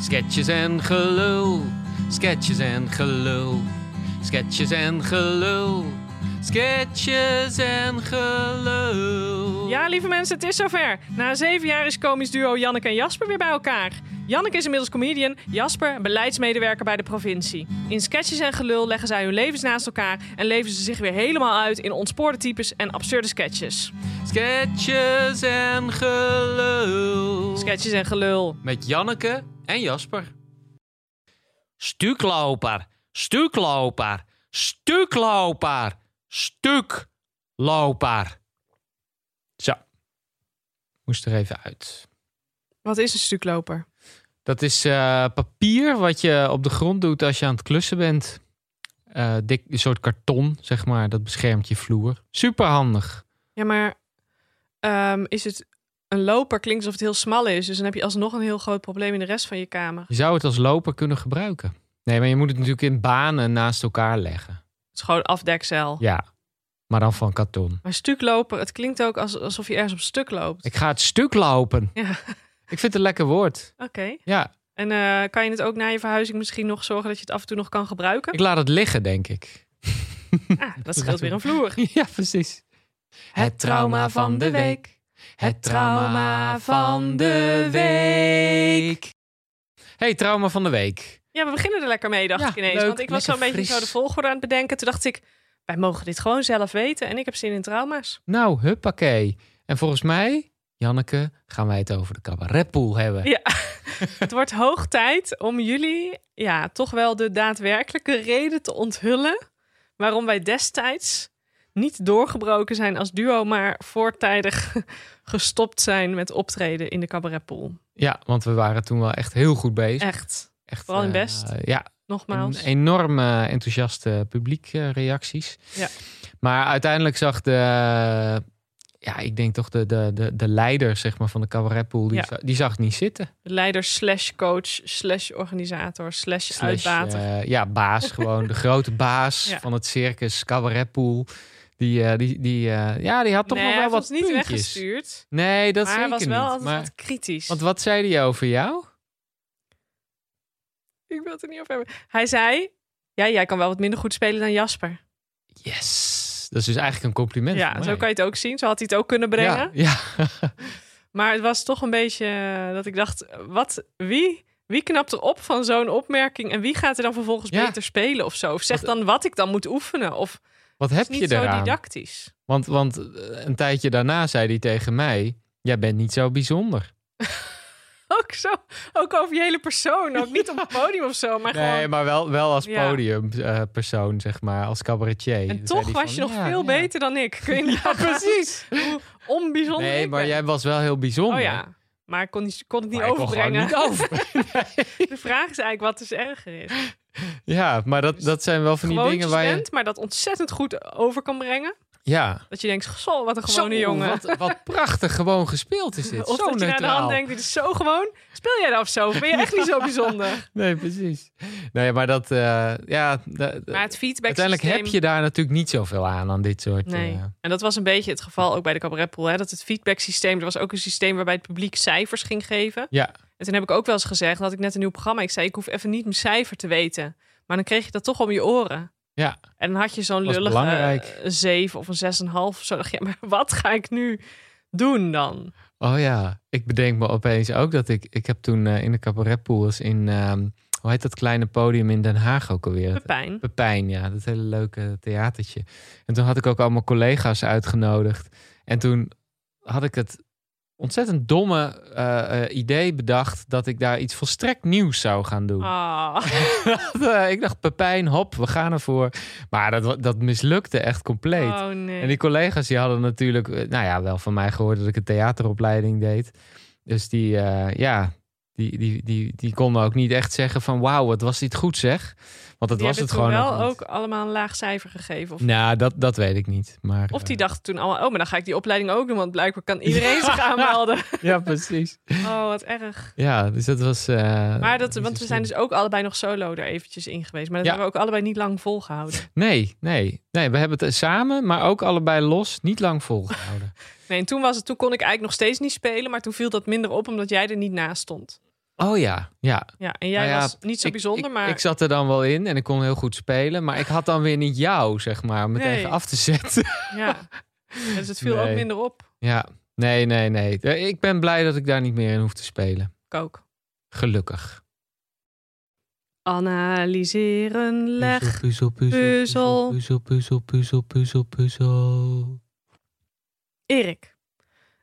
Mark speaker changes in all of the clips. Speaker 1: Sketches en gelul, sketches en gelul, sketches en gelul, sketches en gelul.
Speaker 2: Ja, lieve mensen, het is zover. Na zeven jaar is komisch duo Janneke en Jasper weer bij elkaar. Janneke is inmiddels comedian, Jasper een beleidsmedewerker bij de provincie. In sketches en gelul leggen zij hun levens naast elkaar en leven ze zich weer helemaal uit in ontspoorde types en absurde sketches.
Speaker 1: Sketches en gelul.
Speaker 2: Sketches en gelul.
Speaker 1: Met Janneke en Jasper. Stukloper, stukloper, stukloper, stukloper. Zo. Moest er even uit.
Speaker 2: Wat is een stukloper?
Speaker 1: Dat is eh, papier wat je op de grond doet als je aan het klussen bent. Eh, dik, een soort karton, zeg maar. Dat beschermt je vloer. Superhandig.
Speaker 2: Ja, maar ehm, is het een loper? Klinkt alsof het heel smal is, dus dan heb je alsnog een heel groot probleem in de rest van je kamer.
Speaker 1: Je zou het als loper kunnen gebruiken. Nee, maar je moet het natuurlijk in banen naast elkaar leggen.
Speaker 2: Het is gewoon afdekcel.
Speaker 1: Ja, maar dan van karton.
Speaker 2: Maar stukloper, het klinkt ook als, alsof je ergens op stuk loopt.
Speaker 1: Ik ga het stuk lopen.
Speaker 2: Ja.
Speaker 1: Ik vind het een lekker woord.
Speaker 2: Oké.
Speaker 1: Ja,
Speaker 2: En eh, kan je het ook na je verhuizing misschien nog zorgen dat je het af en toe nog kan gebruiken?
Speaker 1: ik laat het liggen, denk ik.
Speaker 2: Ah, dat scheelt weer een vloer.
Speaker 1: Ja, precies. Het trauma van de week. Het trauma van de week. Hey, trauma van de week.
Speaker 2: Ja, we beginnen er lekker mee, dacht
Speaker 1: Ja,
Speaker 2: ik ineens.
Speaker 1: leuk,
Speaker 2: want ik was
Speaker 1: lekker
Speaker 2: zo'n beetje
Speaker 1: fris.
Speaker 2: zo de volgorde aan het bedenken. Toen dacht ik, wij mogen dit gewoon zelf weten. En ik heb zin in trauma's.
Speaker 1: Nou, huppakee. En volgens mij, Janneke, gaan wij het over de cabaretpool hebben.
Speaker 2: Ja. het wordt hoog tijd om jullie ja, toch wel de daadwerkelijke reden te onthullen... waarom wij destijds niet doorgebroken zijn als duo... maar voortijdig gestopt zijn met optreden in de cabaretpool.
Speaker 1: Ja, want we waren toen wel echt heel goed bezig.
Speaker 2: Echt,
Speaker 1: Echt,
Speaker 2: Vooral in
Speaker 1: eh,
Speaker 2: Best.
Speaker 1: ja,
Speaker 2: nogmaals.
Speaker 1: Een enorme enthousiaste publiekreacties.
Speaker 2: Ja.
Speaker 1: Maar uiteindelijk zag de, ja, ik denk toch de, de, de, de leider zeg maar, van de cabaretpool, die,
Speaker 2: Ja.
Speaker 1: za- die zag het niet zitten.
Speaker 2: leider slash coach slash organisator slash,
Speaker 1: Slash,
Speaker 2: uitbater.
Speaker 1: eh, ja, baas gewoon. De grote baas
Speaker 2: Ja.
Speaker 1: van het circus cabaretpool. Die, eh, die, die, eh, ja, die had toch
Speaker 2: nee,
Speaker 1: nog
Speaker 2: hij
Speaker 1: wel
Speaker 2: heeft
Speaker 1: wat
Speaker 2: ons niet
Speaker 1: puntjes.
Speaker 2: weggestuurd.
Speaker 1: Nee, dat
Speaker 2: maar hij
Speaker 1: zeker
Speaker 2: was wel
Speaker 1: niet.
Speaker 2: altijd
Speaker 1: maar,
Speaker 2: wat kritisch.
Speaker 1: Want wat zei hij over jou?
Speaker 2: Ik wil het er niet over hebben. Hij zei, ja, jij kan wel wat minder goed spelen dan Jasper.
Speaker 1: Yes. Dat is dus eigenlijk een compliment
Speaker 2: Ja,
Speaker 1: voor
Speaker 2: zo
Speaker 1: mij.
Speaker 2: kan je het ook zien. Zo had hij het ook kunnen brengen.
Speaker 1: Ja, ja.
Speaker 2: Maar het was toch een beetje eh, dat ik dacht, wat, wie... Wie knapt er op van zo'n opmerking en wie gaat er dan vervolgens
Speaker 1: Ja.
Speaker 2: beter spelen of zo? Of zegt dan wat ik dan moet oefenen? Of
Speaker 1: wat
Speaker 2: het
Speaker 1: heb
Speaker 2: is niet
Speaker 1: je
Speaker 2: zo
Speaker 1: eraan?
Speaker 2: didactisch?
Speaker 1: Want, want eh, een tijdje daarna zei hij tegen mij: Jij bent niet zo bijzonder.
Speaker 2: Ook zo, ook over je hele persoon, ook niet op het podium of zo, maar gewoon
Speaker 1: nee, maar wel, wel als
Speaker 2: Ja.
Speaker 1: podiumpersoon, zeg maar, als cabaretier.
Speaker 2: En
Speaker 1: Dan zei
Speaker 2: toch
Speaker 1: hij
Speaker 2: was
Speaker 1: van,
Speaker 2: je nog
Speaker 1: "Ja,
Speaker 2: veel
Speaker 1: ja."
Speaker 2: beter dan ik. Kun je
Speaker 1: Ja,
Speaker 2: nagaan
Speaker 1: precies.
Speaker 2: hoe onbijzonder
Speaker 1: Nee,
Speaker 2: ik
Speaker 1: maar
Speaker 2: ben?
Speaker 1: jij was wel heel bijzonder.
Speaker 2: Oh ja, maar ik kon, niet- kon het niet
Speaker 1: Maar ik kon gewoon
Speaker 2: overbrengen.
Speaker 1: niet over.
Speaker 2: De vraag is eigenlijk wat dus erger is.
Speaker 1: Ja, maar
Speaker 2: Dus
Speaker 1: dat, dat zijn wel van die
Speaker 2: Gewoon
Speaker 1: dingen waar je.
Speaker 2: bent, maar dat ontzettend goed over kan brengen.
Speaker 1: Ja.
Speaker 2: Dat je denkt, zo, wat een gewone
Speaker 1: Zo,
Speaker 2: jongen.
Speaker 1: Wat, wat prachtig gewoon gespeeld is dit. zo
Speaker 2: of dat je naar de
Speaker 1: neutraal.
Speaker 2: hand denkt, dit is zo gewoon. Speel jij dat of zo? Of ben je echt niet zo bijzonder?
Speaker 1: Nee, precies. Nee, maar dat. eh, ja, da- da-
Speaker 2: Maar het feedback dus
Speaker 1: uiteindelijk heb je daar natuurlijk niet zoveel aan, aan dit soort.
Speaker 2: Nee.
Speaker 1: eh,
Speaker 2: En dat was een beetje het geval ook bij de cabaretpool. Hè? Dat het feedbacksysteem, er was ook een systeem waarbij het publiek cijfers ging geven.
Speaker 1: Ja.
Speaker 2: En toen heb ik ook wel eens gezegd, dat ik net een nieuw programma. Ik zei, ik hoef even niet mijn cijfer te weten. Maar dan kreeg je dat toch om je oren.
Speaker 1: Ja.
Speaker 2: En dan had je zo'n
Speaker 1: Was
Speaker 2: lullig
Speaker 1: belangrijk.
Speaker 2: eh, een 7 of een 6,5. of Zo dacht je, maar wat ga ik nu doen dan?
Speaker 1: Oh ja, ik bedenk me opeens ook dat ik... Ik heb toen eh, in de cabaretpool eens in... ehm, hoe heet dat kleine podium in Den Haag ook alweer? Het-
Speaker 2: Pepijn.
Speaker 1: Pepijn, ja. Dat hele leuke theatertje. En toen had ik ook allemaal collega's uitgenodigd. En toen had ik het ontzettend domme eh, eh, idee bedacht... dat ik daar iets volstrekt nieuws zou gaan doen.
Speaker 2: Ah,
Speaker 1: Eh, ik dacht, Pepijn, hop, we gaan ervoor. Maar dat, wa- dat mislukte echt compleet.
Speaker 2: oh nee.
Speaker 1: En die collega's die hadden natuurlijk, eh, nou ja, wel van mij gehoord dat ik een theateropleiding deed. Dus die, eh, ja, die, die, die, die konden ook niet echt zeggen van wauw, wat was dit goed zeg. Want dat
Speaker 2: Die
Speaker 1: was
Speaker 2: hebben
Speaker 1: het
Speaker 2: toen
Speaker 1: gewoon nog
Speaker 2: wel
Speaker 1: niet.
Speaker 2: ook allemaal een laag cijfer gegeven. Of,
Speaker 1: Nou, dat, dat weet ik niet. Maar,
Speaker 2: of die
Speaker 1: eh,
Speaker 2: dachten toen allemaal, oh, maar dan ga ik die opleiding ook doen. Want blijkbaar kan iedereen zich aanmelden.
Speaker 1: eh, ja, precies.
Speaker 2: Oh, wat erg.
Speaker 1: Ja, dus dat was... eh,
Speaker 2: Maar dat,
Speaker 1: niet
Speaker 2: want
Speaker 1: zo
Speaker 2: we zijn
Speaker 1: slim.
Speaker 2: dus ook allebei nog solo er eventjes in geweest. Maar dat
Speaker 1: Ja.
Speaker 2: hebben we ook allebei niet lang volgehouden.
Speaker 1: Nee, nee, nee. We hebben het eh, samen, maar ook allebei los, niet lang volgehouden.
Speaker 2: Nee, en toen, was het, toen kon ik eigenlijk nog steeds niet spelen. Maar toen viel dat minder op omdat jij er niet naast stond.
Speaker 1: Oh ja, ja.
Speaker 2: Ja, en jij
Speaker 1: Nou ja,
Speaker 2: was niet zo
Speaker 1: Ik-
Speaker 2: bijzonder,
Speaker 1: ik,
Speaker 2: maar
Speaker 1: Ik zat er dan wel in en ik kon heel goed spelen. Maar ik had dan weer niet jou, zeg maar, om me
Speaker 2: Nee.
Speaker 1: tegen af te zetten.
Speaker 2: ja. Dus het viel
Speaker 1: Nee.
Speaker 2: ook minder op.
Speaker 1: Ja, nee, nee, nee. Eh, Ik ben blij dat ik daar niet meer in hoef te spelen.
Speaker 2: Ik ook.
Speaker 1: Gelukkig.
Speaker 2: Analyseren, leg.
Speaker 1: Puzzel, puzzel,
Speaker 2: Puzzel.
Speaker 1: Puzzel, puzzel, puzzel, puzzel, puzzel.
Speaker 2: Erik,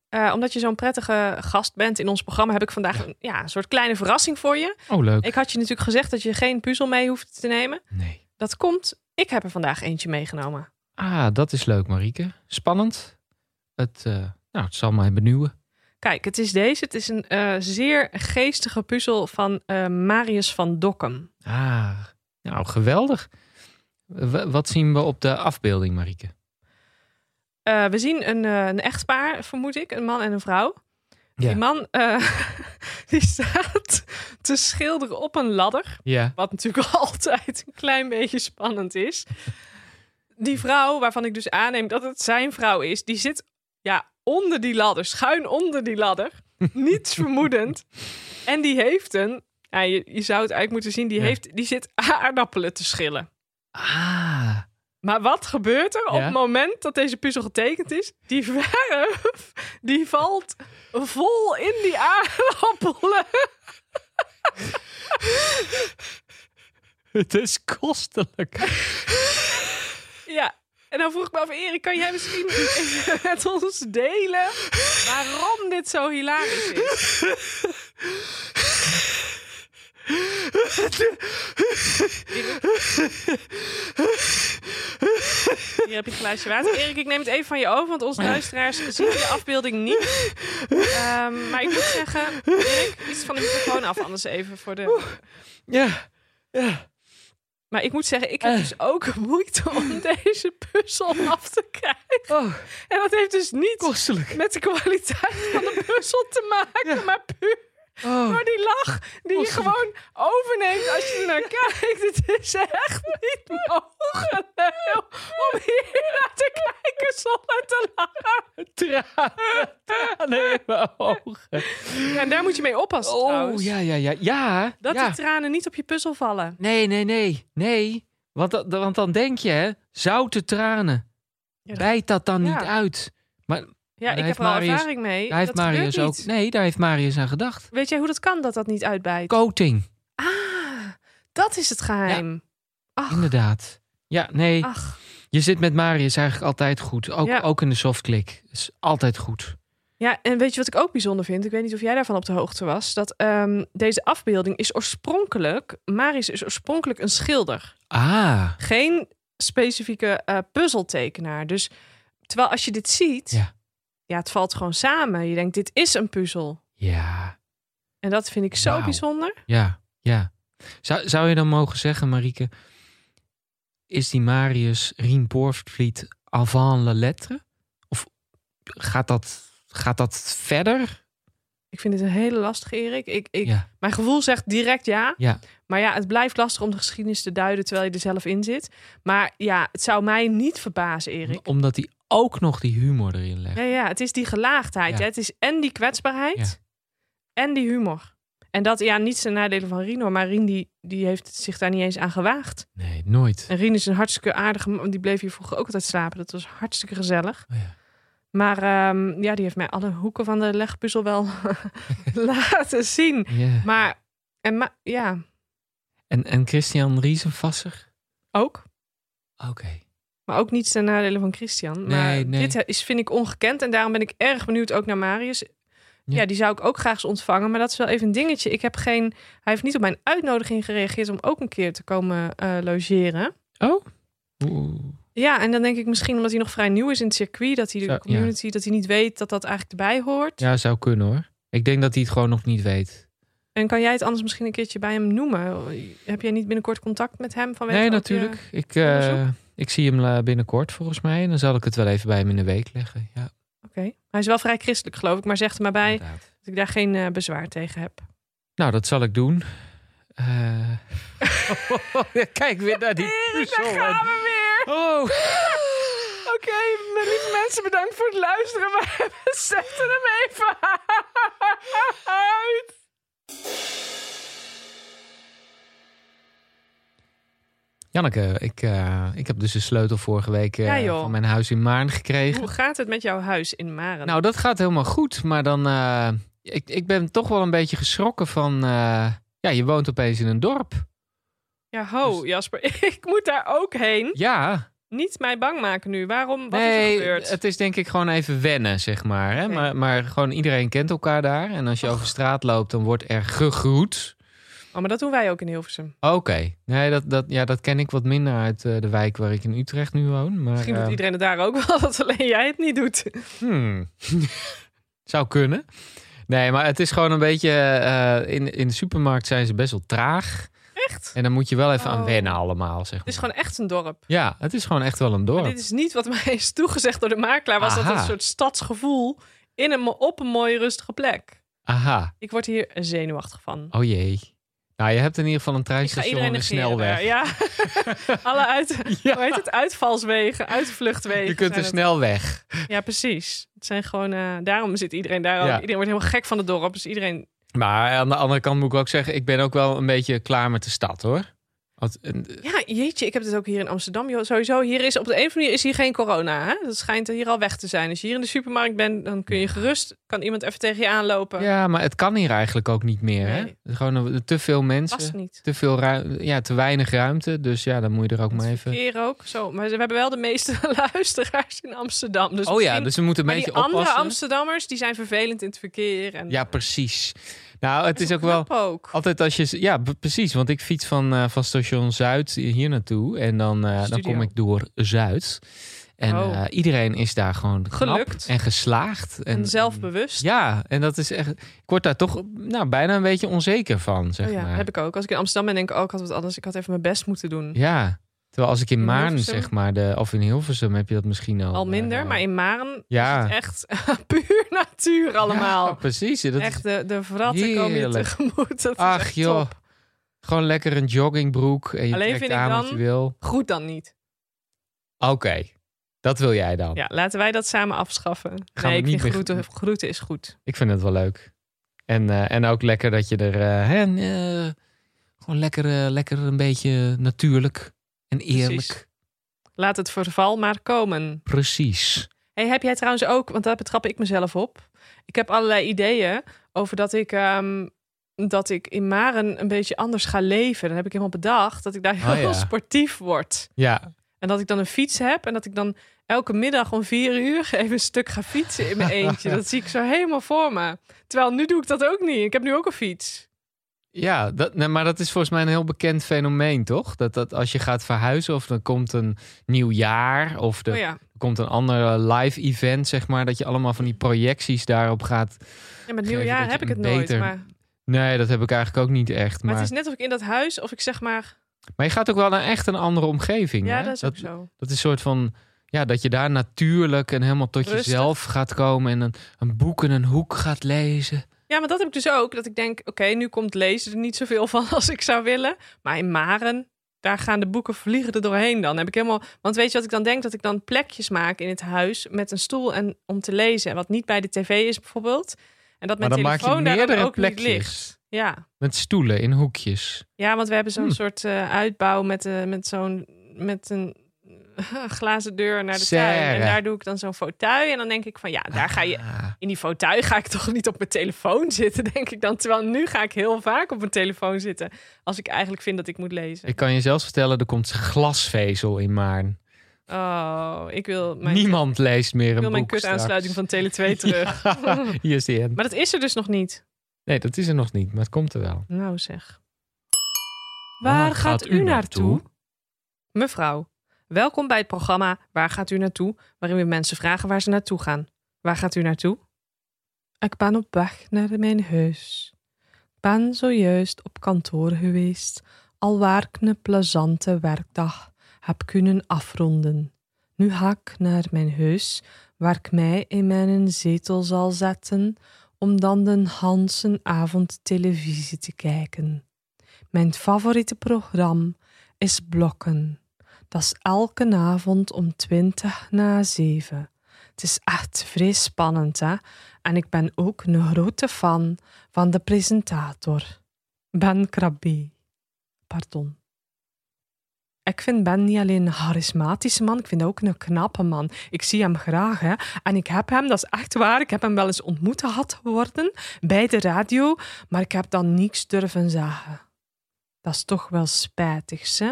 Speaker 2: eh, omdat je zo'n prettige gast bent in ons programma, heb ik vandaag Een, ja, een soort kleine verrassing voor je.
Speaker 1: Oh, leuk.
Speaker 2: Ik had je natuurlijk gezegd dat je geen puzzel mee hoeft te nemen.
Speaker 1: Nee.
Speaker 2: Dat komt, ik heb er vandaag eentje meegenomen.
Speaker 1: Ah, dat is leuk, Marieke. Spannend. Het, eh, nou, het zal mij benieuwen.
Speaker 2: Kijk, het is deze. Het is een eh, zeer geestige puzzel van eh, Marius van Dokkum.
Speaker 1: Ah, nou, geweldig. W- wat zien we op de afbeelding, Marieke?
Speaker 2: Eh, we zien een, eh, een echtpaar, vermoed ik, een man en een vrouw. Die man eh, die staat te schilderen op een ladder.
Speaker 1: Ja.
Speaker 2: Wat natuurlijk altijd een klein beetje spannend is. Die vrouw, waarvan ik dus aanneem dat het zijn vrouw is, die zit ja, onder die ladder, schuin onder die ladder. Niets vermoedend. En die heeft een, ja, je, je zou het eigenlijk moeten zien, die,
Speaker 1: Ja.
Speaker 2: heeft, die zit aardappelen te schillen.
Speaker 1: Ah.
Speaker 2: Maar wat gebeurt er op
Speaker 1: Ja?
Speaker 2: het moment dat deze puzzel getekend is? Die verf, die valt vol in die aardappelen.
Speaker 1: Het is kostelijk.
Speaker 2: Ja, en dan vroeg ik me af, Erik, kan jij misschien met ons delen waarom dit zo hilarisch is? Hier heb je een glaasje water. Erik, ik neem het even van je over, want onze luisteraars zien de afbeelding niet. Ehm, maar ik moet zeggen, Erik, iets van de microfoon af, anders even voor de...
Speaker 1: Ja. ja.
Speaker 2: Maar ik moet zeggen, ik heb dus ook moeite om deze puzzel af te krijgen.
Speaker 1: Oh,
Speaker 2: En dat heeft dus niets
Speaker 1: kostelijk.
Speaker 2: met de kwaliteit van de puzzel te maken,
Speaker 1: Ja.
Speaker 2: maar puur
Speaker 1: Oh.
Speaker 2: door die lach die je gewoon overneemt als je er naar kijkt. Het is echt niet mogelijk om hier naar te kijken zonder te lachen.
Speaker 1: Tranen, tranen in mijn ogen.
Speaker 2: Ja, en daar moet je mee oppassen
Speaker 1: Oh,
Speaker 2: trouwens.
Speaker 1: ja, ja, ja. Ja,
Speaker 2: Dat
Speaker 1: ja.
Speaker 2: de tranen niet op je puzzel vallen.
Speaker 1: Nee, nee, nee. Nee. Want, dat- want dan denk je, hè, zoute tranen.
Speaker 2: Ja.
Speaker 1: Bijt dat dan
Speaker 2: Ja.
Speaker 1: niet uit?
Speaker 2: Ja,
Speaker 1: Daar
Speaker 2: ik heb
Speaker 1: heeft
Speaker 2: er al
Speaker 1: Marius-
Speaker 2: ervaring mee.
Speaker 1: Daar heeft
Speaker 2: dat gebeurt
Speaker 1: Marius ook.
Speaker 2: niet.
Speaker 1: Nee, daar heeft Marius aan gedacht.
Speaker 2: Weet jij hoe dat kan, dat dat niet uitbijt?
Speaker 1: Coating,
Speaker 2: Ah, dat is het geheim. Ach,
Speaker 1: inderdaad. Ja, nee.
Speaker 2: ach.
Speaker 1: Je zit met Marius eigenlijk altijd goed. Ook,
Speaker 2: Ja.
Speaker 1: ook in de softclick. Is altijd goed.
Speaker 2: Ja, en weet je wat ik ook bijzonder vind? Ik weet niet of jij daarvan op de hoogte was. Dat ehm, deze afbeelding is oorspronkelijk... Marius is oorspronkelijk een schilder.
Speaker 1: Ah.
Speaker 2: Geen specifieke eh, puzzeltekenaar. Dus terwijl als je dit ziet...
Speaker 1: Ja.
Speaker 2: ja, het valt gewoon samen. Je denkt, dit is een puzzel.
Speaker 1: Ja.
Speaker 2: En dat vind ik zo
Speaker 1: Wauw.
Speaker 2: bijzonder.
Speaker 1: Ja, ja. Zou, zou je dan mogen zeggen, Marieke, is die Marius Rien Poortvliet avant la lettre? Of gaat dat, gaat dat verder?
Speaker 2: Ik vind dit een hele lastige, Erik. Ik, ik,
Speaker 1: Ja.
Speaker 2: Mijn gevoel zegt direct ja.
Speaker 1: Ja.
Speaker 2: Maar ja, het blijft lastig om de geschiedenis te duiden... terwijl je er zelf in zit. Maar ja, het zou mij niet verbazen, Erik.
Speaker 1: Omdat hij ook nog die humor erin legt.
Speaker 2: Ja, ja, het is die gelaagdheid.
Speaker 1: Ja.
Speaker 2: hè. Het is en die kwetsbaarheid
Speaker 1: Ja.
Speaker 2: en die humor. En dat, ja, niet zijn nadelen van Rino, maar Rien die, die heeft zich daar niet eens aan gewaagd.
Speaker 1: Nee, nooit.
Speaker 2: En Rien is een hartstikke aardige man, die bleef hier vroeger ook altijd slapen. Dat was hartstikke gezellig.
Speaker 1: Oh ja.
Speaker 2: Maar ehm, ja, die heeft mij alle hoeken van de legpuzzel wel laten zien.
Speaker 1: Ja.
Speaker 2: Maar, en ma- ja,
Speaker 1: En, en Christian Riesenvasser?
Speaker 2: ook.
Speaker 1: Oké.
Speaker 2: Maar ook niet ten nadele van Christian. Maar
Speaker 1: Nee, nee.
Speaker 2: dit is, vind ik ongekend. En daarom ben ik erg benieuwd ook naar Marius. Ja.
Speaker 1: Ja.
Speaker 2: die zou ik ook graag eens ontvangen. Maar dat is wel even een dingetje. Ik heb geen, hij heeft niet op mijn uitnodiging gereageerd om ook een keer te komen eh, logeren.
Speaker 1: Oeh.
Speaker 2: Ja, en dan denk ik misschien omdat hij nog vrij nieuw is in het circuit. Dat hij de
Speaker 1: Zo, ja.
Speaker 2: community, dat hij niet weet dat dat eigenlijk erbij hoort.
Speaker 1: Ja, zou kunnen hoor. Ik denk dat hij het gewoon nog niet weet.
Speaker 2: En kan jij het anders misschien een keertje bij hem noemen? Heb jij niet binnenkort contact met hem? Vanwege
Speaker 1: Nee,
Speaker 2: ook je-
Speaker 1: natuurlijk. Ik, eh,
Speaker 2: onderzoek?
Speaker 1: ik zie hem eh, binnenkort volgens mij. En dan zal ik het wel even bij hem in de week leggen. Ja,
Speaker 2: Oké. Hij is wel vrij christelijk geloof ik. Maar zeg er maar bij
Speaker 1: inderdaad.
Speaker 2: dat ik daar geen eh, bezwaar tegen heb.
Speaker 1: Nou, dat zal ik doen. Eh. Kijk weer naar die
Speaker 2: Erik,
Speaker 1: puzzel.
Speaker 2: Eh, daar gaan we weer!
Speaker 1: Oh,
Speaker 2: Oké, mijn lieve mensen, bedankt voor het luisteren. Maar we zetten hem even uit.
Speaker 1: Janneke, ik, eh, ik heb dus de sleutel vorige week eh,
Speaker 2: Ja, joh.
Speaker 1: van mijn huis in Maarn gekregen.
Speaker 2: Hoe gaat het met jouw huis in Maren?
Speaker 1: Nou, dat gaat helemaal goed. Maar dan, eh, ik, ik ben toch wel een beetje geschrokken van, eh, ja, je woont opeens in een dorp.
Speaker 2: ja, ho,
Speaker 1: dus-
Speaker 2: Jasper, ik moet daar ook heen.
Speaker 1: Ja,
Speaker 2: Niet mij bang maken nu. Waarom? Wat is er
Speaker 1: nee,
Speaker 2: gebeurd?
Speaker 1: het is denk ik gewoon even wennen, zeg maar, hè?
Speaker 2: Oké.
Speaker 1: maar. Maar gewoon iedereen kent elkaar daar. En als je
Speaker 2: Och.
Speaker 1: over straat loopt, dan wordt er gegroet.
Speaker 2: Oh, maar dat doen wij ook in Hilversum.
Speaker 1: Oké, nee, dat, dat, ja, dat ken ik wat minder uit eh, de wijk waar ik in Utrecht nu woon. Maar,
Speaker 2: Misschien doet
Speaker 1: eh,
Speaker 2: iedereen het daar ook wel, dat alleen jij het niet doet.
Speaker 1: Hmm. Zou kunnen. Nee, maar het is gewoon een beetje. eh, in, in de supermarkt zijn ze best wel traag.
Speaker 2: Echt?
Speaker 1: En dan moet je wel even aan
Speaker 2: Oh.
Speaker 1: wennen, allemaal. Zeg maar.
Speaker 2: Het is gewoon echt een dorp.
Speaker 1: Ja, het is gewoon echt wel een
Speaker 2: Maar
Speaker 1: dorp.
Speaker 2: dit is niet wat mij is toegezegd door de makelaar. Was dat
Speaker 1: Aha.
Speaker 2: een soort stadsgevoel in een, mo- op een mooie rustige plek.
Speaker 1: Aha.
Speaker 2: Ik word hier zenuwachtig van.
Speaker 1: Oh jee. Nou, je hebt in ieder geval een
Speaker 2: Ik ga
Speaker 1: treinstation
Speaker 2: iedereen
Speaker 1: en een
Speaker 2: negeren daar.
Speaker 1: snelweg.
Speaker 2: Ja, Oh, alle uit,
Speaker 1: Ja.
Speaker 2: hoe heet het? uitvalswegen, uitvluchtwegen.
Speaker 1: Je kunt dus
Speaker 2: zijn
Speaker 1: er snel
Speaker 2: het.
Speaker 1: weg.
Speaker 2: Ja, precies. Het zijn gewoon, eh, daarom zit iedereen daar ook.
Speaker 1: Ja.
Speaker 2: Iedereen wordt helemaal gek van het dorp. Dus iedereen,
Speaker 1: Maar aan de andere kant moet ik ook zeggen, ik ben ook wel een beetje klaar met de stad hoor. Want, eh,
Speaker 2: ja jeetje, ik heb dit ook hier in Amsterdam. joh. Sowieso, hier is op de een of andere manier is hier geen corona. Hè? Dat schijnt hier al weg te zijn. Als je hier in de supermarkt bent, dan kun je gerust, kan iemand even tegen je aanlopen.
Speaker 1: ja, maar het kan hier eigenlijk ook niet meer. Hè?
Speaker 2: Nee.
Speaker 1: Gewoon een- te veel mensen.
Speaker 2: Past niet.
Speaker 1: te veel ruim, ja, te weinig ruimte. Dus ja, dan moet je er ook maar
Speaker 2: Het
Speaker 1: even.
Speaker 2: verkeer ook. Zo, maar we hebben wel de meeste luisteraars in Amsterdam. Dus
Speaker 1: Oh ja,
Speaker 2: misschien-
Speaker 1: dus we moeten een
Speaker 2: maar
Speaker 1: beetje
Speaker 2: die andere
Speaker 1: oppassen.
Speaker 2: Amsterdammers, die zijn vervelend in het verkeer. En
Speaker 1: Ja, Oh, precies. Nou, het
Speaker 2: Dat
Speaker 1: is ook wel
Speaker 2: knap ook.
Speaker 1: altijd als je. Ja, b- precies. Want ik fiets van, eh, van station Zuid hier naartoe. En dan, eh, dan
Speaker 2: Studio.
Speaker 1: kom ik door Zuid. En
Speaker 2: Oh.
Speaker 1: eh, iedereen is daar gewoon knap
Speaker 2: Gelukt.
Speaker 1: en geslaagd.
Speaker 2: En zelfbewust.
Speaker 1: Ja, en dat is echt. Ik word daar toch nou, bijna een beetje onzeker van, zeg
Speaker 2: Oh ja,
Speaker 1: maar.
Speaker 2: heb ik ook. Als ik in Amsterdam ben, denk ik ook, ik had wat anders. Ik had even mijn best moeten doen.
Speaker 1: Ja. Terwijl als ik in,
Speaker 2: In
Speaker 1: Maarn,
Speaker 2: Hilversum?
Speaker 1: zeg maar, de, of in Hilversum heb je dat misschien al.
Speaker 2: Al minder,
Speaker 1: eh,
Speaker 2: maar in Maren
Speaker 1: Ja.
Speaker 2: is het echt puur natuur
Speaker 1: Ja,
Speaker 2: allemaal.
Speaker 1: precies. Dat is-
Speaker 2: echt, de, de verratten komen je
Speaker 1: heerlijk.
Speaker 2: tegemoet. Dat is
Speaker 1: Ach
Speaker 2: echt
Speaker 1: joh.
Speaker 2: top.
Speaker 1: Gewoon lekker een joggingbroek en je
Speaker 2: Alleen
Speaker 1: trekt
Speaker 2: vind ik
Speaker 1: aan wat
Speaker 2: dan-
Speaker 1: je wil.
Speaker 2: Goed dan niet.
Speaker 1: Oké, dat wil jij dan.
Speaker 2: Ja, laten wij dat samen afschaffen.
Speaker 1: Gaan
Speaker 2: nee,
Speaker 1: we
Speaker 2: ik
Speaker 1: niet
Speaker 2: vind
Speaker 1: meer-
Speaker 2: groeten, groeten is goed.
Speaker 1: Ik vind het wel leuk. En, eh, en ook lekker dat je er... eh, hè, eh, gewoon lekker, eh, lekker een beetje natuurlijk en eerlijk.
Speaker 2: Precies. Laat het verval maar komen.
Speaker 1: Precies.
Speaker 2: Hey, heb jij trouwens ook, want daar betrap ik mezelf op. Ik heb allerlei ideeën over dat ik, ehm, dat ik in Maren een beetje anders ga leven. Dan heb ik helemaal bedacht dat ik daar
Speaker 1: Oh,
Speaker 2: heel
Speaker 1: ja.
Speaker 2: sportief word.
Speaker 1: Ja,
Speaker 2: En dat ik dan een fiets heb en dat ik dan elke middag om vier uur even een stuk ga fietsen in mijn eentje. Dat zie ik zo helemaal voor me. Terwijl nu doe ik dat ook niet. Ik heb nu ook een fiets.
Speaker 1: ja dat, nee, maar dat is volgens mij een heel bekend fenomeen, toch? Dat, dat als je gaat verhuizen of dan komt een nieuw jaar of er
Speaker 2: Oh ja.
Speaker 1: komt een ander eh, live event, zeg maar. Dat je allemaal van die projecties daarop gaat.
Speaker 2: En met
Speaker 1: Geef dat
Speaker 2: nieuwjaar
Speaker 1: je
Speaker 2: heb ik het
Speaker 1: een
Speaker 2: nooit.
Speaker 1: beter-
Speaker 2: Maar, maar,
Speaker 1: Nee, dat heb ik eigenlijk ook niet echt. Maar,
Speaker 2: het is net of ik in dat huis, of ik zeg maar,
Speaker 1: Maar je gaat ook wel naar echt een andere omgeving.
Speaker 2: ja,
Speaker 1: hè?
Speaker 2: dat is ook zo.
Speaker 1: dat is een soort van. Ja, dat je daar natuurlijk en helemaal tot
Speaker 2: Rustig.
Speaker 1: jezelf gaat komen en een, een boek in een hoek gaat lezen.
Speaker 2: Ja, maar dat heb ik dus ook. Dat ik denk, oké, nu komt lezen er niet zoveel van als ik zou willen. Maar in Maren, daar gaan de boeken vliegen er doorheen dan. Heb ik helemaal... Want weet je wat ik dan denk? Dat ik dan plekjes maak in het huis met een stoel en om te lezen. Wat niet bij de tv is bijvoorbeeld. En dat
Speaker 1: Maar
Speaker 2: mijn
Speaker 1: dan maak je
Speaker 2: telefoon daar dan
Speaker 1: meerdere
Speaker 2: ook niet ligt.
Speaker 1: plekjes
Speaker 2: Ja.
Speaker 1: met stoelen in hoekjes.
Speaker 2: ja, want we hebben zo'n
Speaker 1: Hmm.
Speaker 2: soort eh, uitbouw met, eh, met zo'n... Met een glazen deur naar de tuin. En
Speaker 1: Serre.
Speaker 2: daar doe ik dan zo'n fauteuil. En dan denk ik van, ja, daar ga je
Speaker 1: Ah,
Speaker 2: in die fauteuil ga ik toch niet op mijn telefoon zitten, denk ik dan. Terwijl nu ga ik heel vaak op mijn telefoon zitten. Als ik eigenlijk vind dat ik moet lezen.
Speaker 1: ik kan je zelfs vertellen, er komt glasvezel in Maarn.
Speaker 2: Oh, ik wil mijn,
Speaker 1: Niemand leest meer
Speaker 2: ik
Speaker 1: een
Speaker 2: wil mijn
Speaker 1: boek straks.
Speaker 2: kutaansluiting van Tele 2 terug.
Speaker 1: Ja, hier is die end.
Speaker 2: Maar dat is er dus nog niet.
Speaker 1: Nee, dat is er nog niet, maar het komt er wel.
Speaker 2: Nou zeg. Waar gaat u naartoe? Mevrouw, welkom bij het programma Waar gaat u naartoe? Waarin we mensen vragen waar ze naartoe gaan. Waar gaat u naartoe? Ik ben op weg naar mijn huis. Ik ben zojuist op kantoor geweest, alwaar ik een plezante werkdag heb kunnen afronden. Nu ga ik naar mijn huis, waar ik mij in mijn zetel zal zetten om dan de Hansen avond televisie te kijken. Mijn favoriete programma is blokken. Dat is elke avond om 20 na 7. Het is echt vrij spannend, hè? En ik ben ook een grote fan van de presentator, Ben Krabbe. Pardon. Ik vind Ben niet alleen een charismatische man, ik vind ook een knappe man. Ik zie hem graag, hè. En ik heb hem, dat is echt waar, ik heb hem wel eens ontmoet gehad worden bij de radio, maar ik heb dan niks durven zeggen. Dat is toch wel spijtig, hè?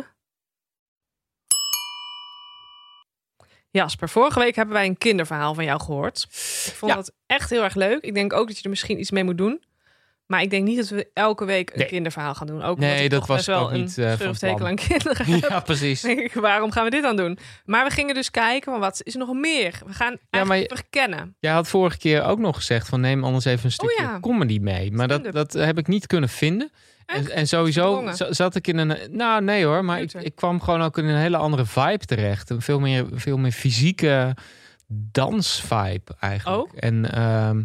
Speaker 2: Jasper, vorige week hebben wij een kinderverhaal van jou gehoord. Ik vond
Speaker 1: Ja.
Speaker 2: dat echt heel erg leuk. Ik denk ook dat je er misschien iets mee moet doen. Maar ik denk niet dat we elke week een
Speaker 1: Nee.
Speaker 2: kinderverhaal gaan doen. Ook
Speaker 1: Nee,
Speaker 2: omdat ik
Speaker 1: dat
Speaker 2: toch
Speaker 1: was
Speaker 2: best wel
Speaker 1: ook niet, eh,
Speaker 2: een
Speaker 1: van
Speaker 2: schurftekel
Speaker 1: plan.
Speaker 2: aan kinderen heb.
Speaker 1: Ja, precies.
Speaker 2: denk ik, waarom gaan we dit dan doen? Maar we gingen dus kijken, van wat is er nog meer? We gaan echt
Speaker 1: maar je-
Speaker 2: verkennen. Oh
Speaker 1: Jij had vorige keer ook nog gezegd van neem anders even een stukje
Speaker 2: ja.
Speaker 1: comedy mee. Maar dat,
Speaker 2: Stand-up.
Speaker 1: dat heb ik niet kunnen vinden.
Speaker 2: Echt?
Speaker 1: En, en sowieso
Speaker 2: Verdrongen.
Speaker 1: za- zat ik in een... Nou, nee hoor. Maar ik,
Speaker 2: Computer.
Speaker 1: ik kwam gewoon ook in een hele andere vibe terecht. Een veel meer, veel meer fysieke dansvibe eigenlijk.
Speaker 2: Oh.
Speaker 1: En ehm,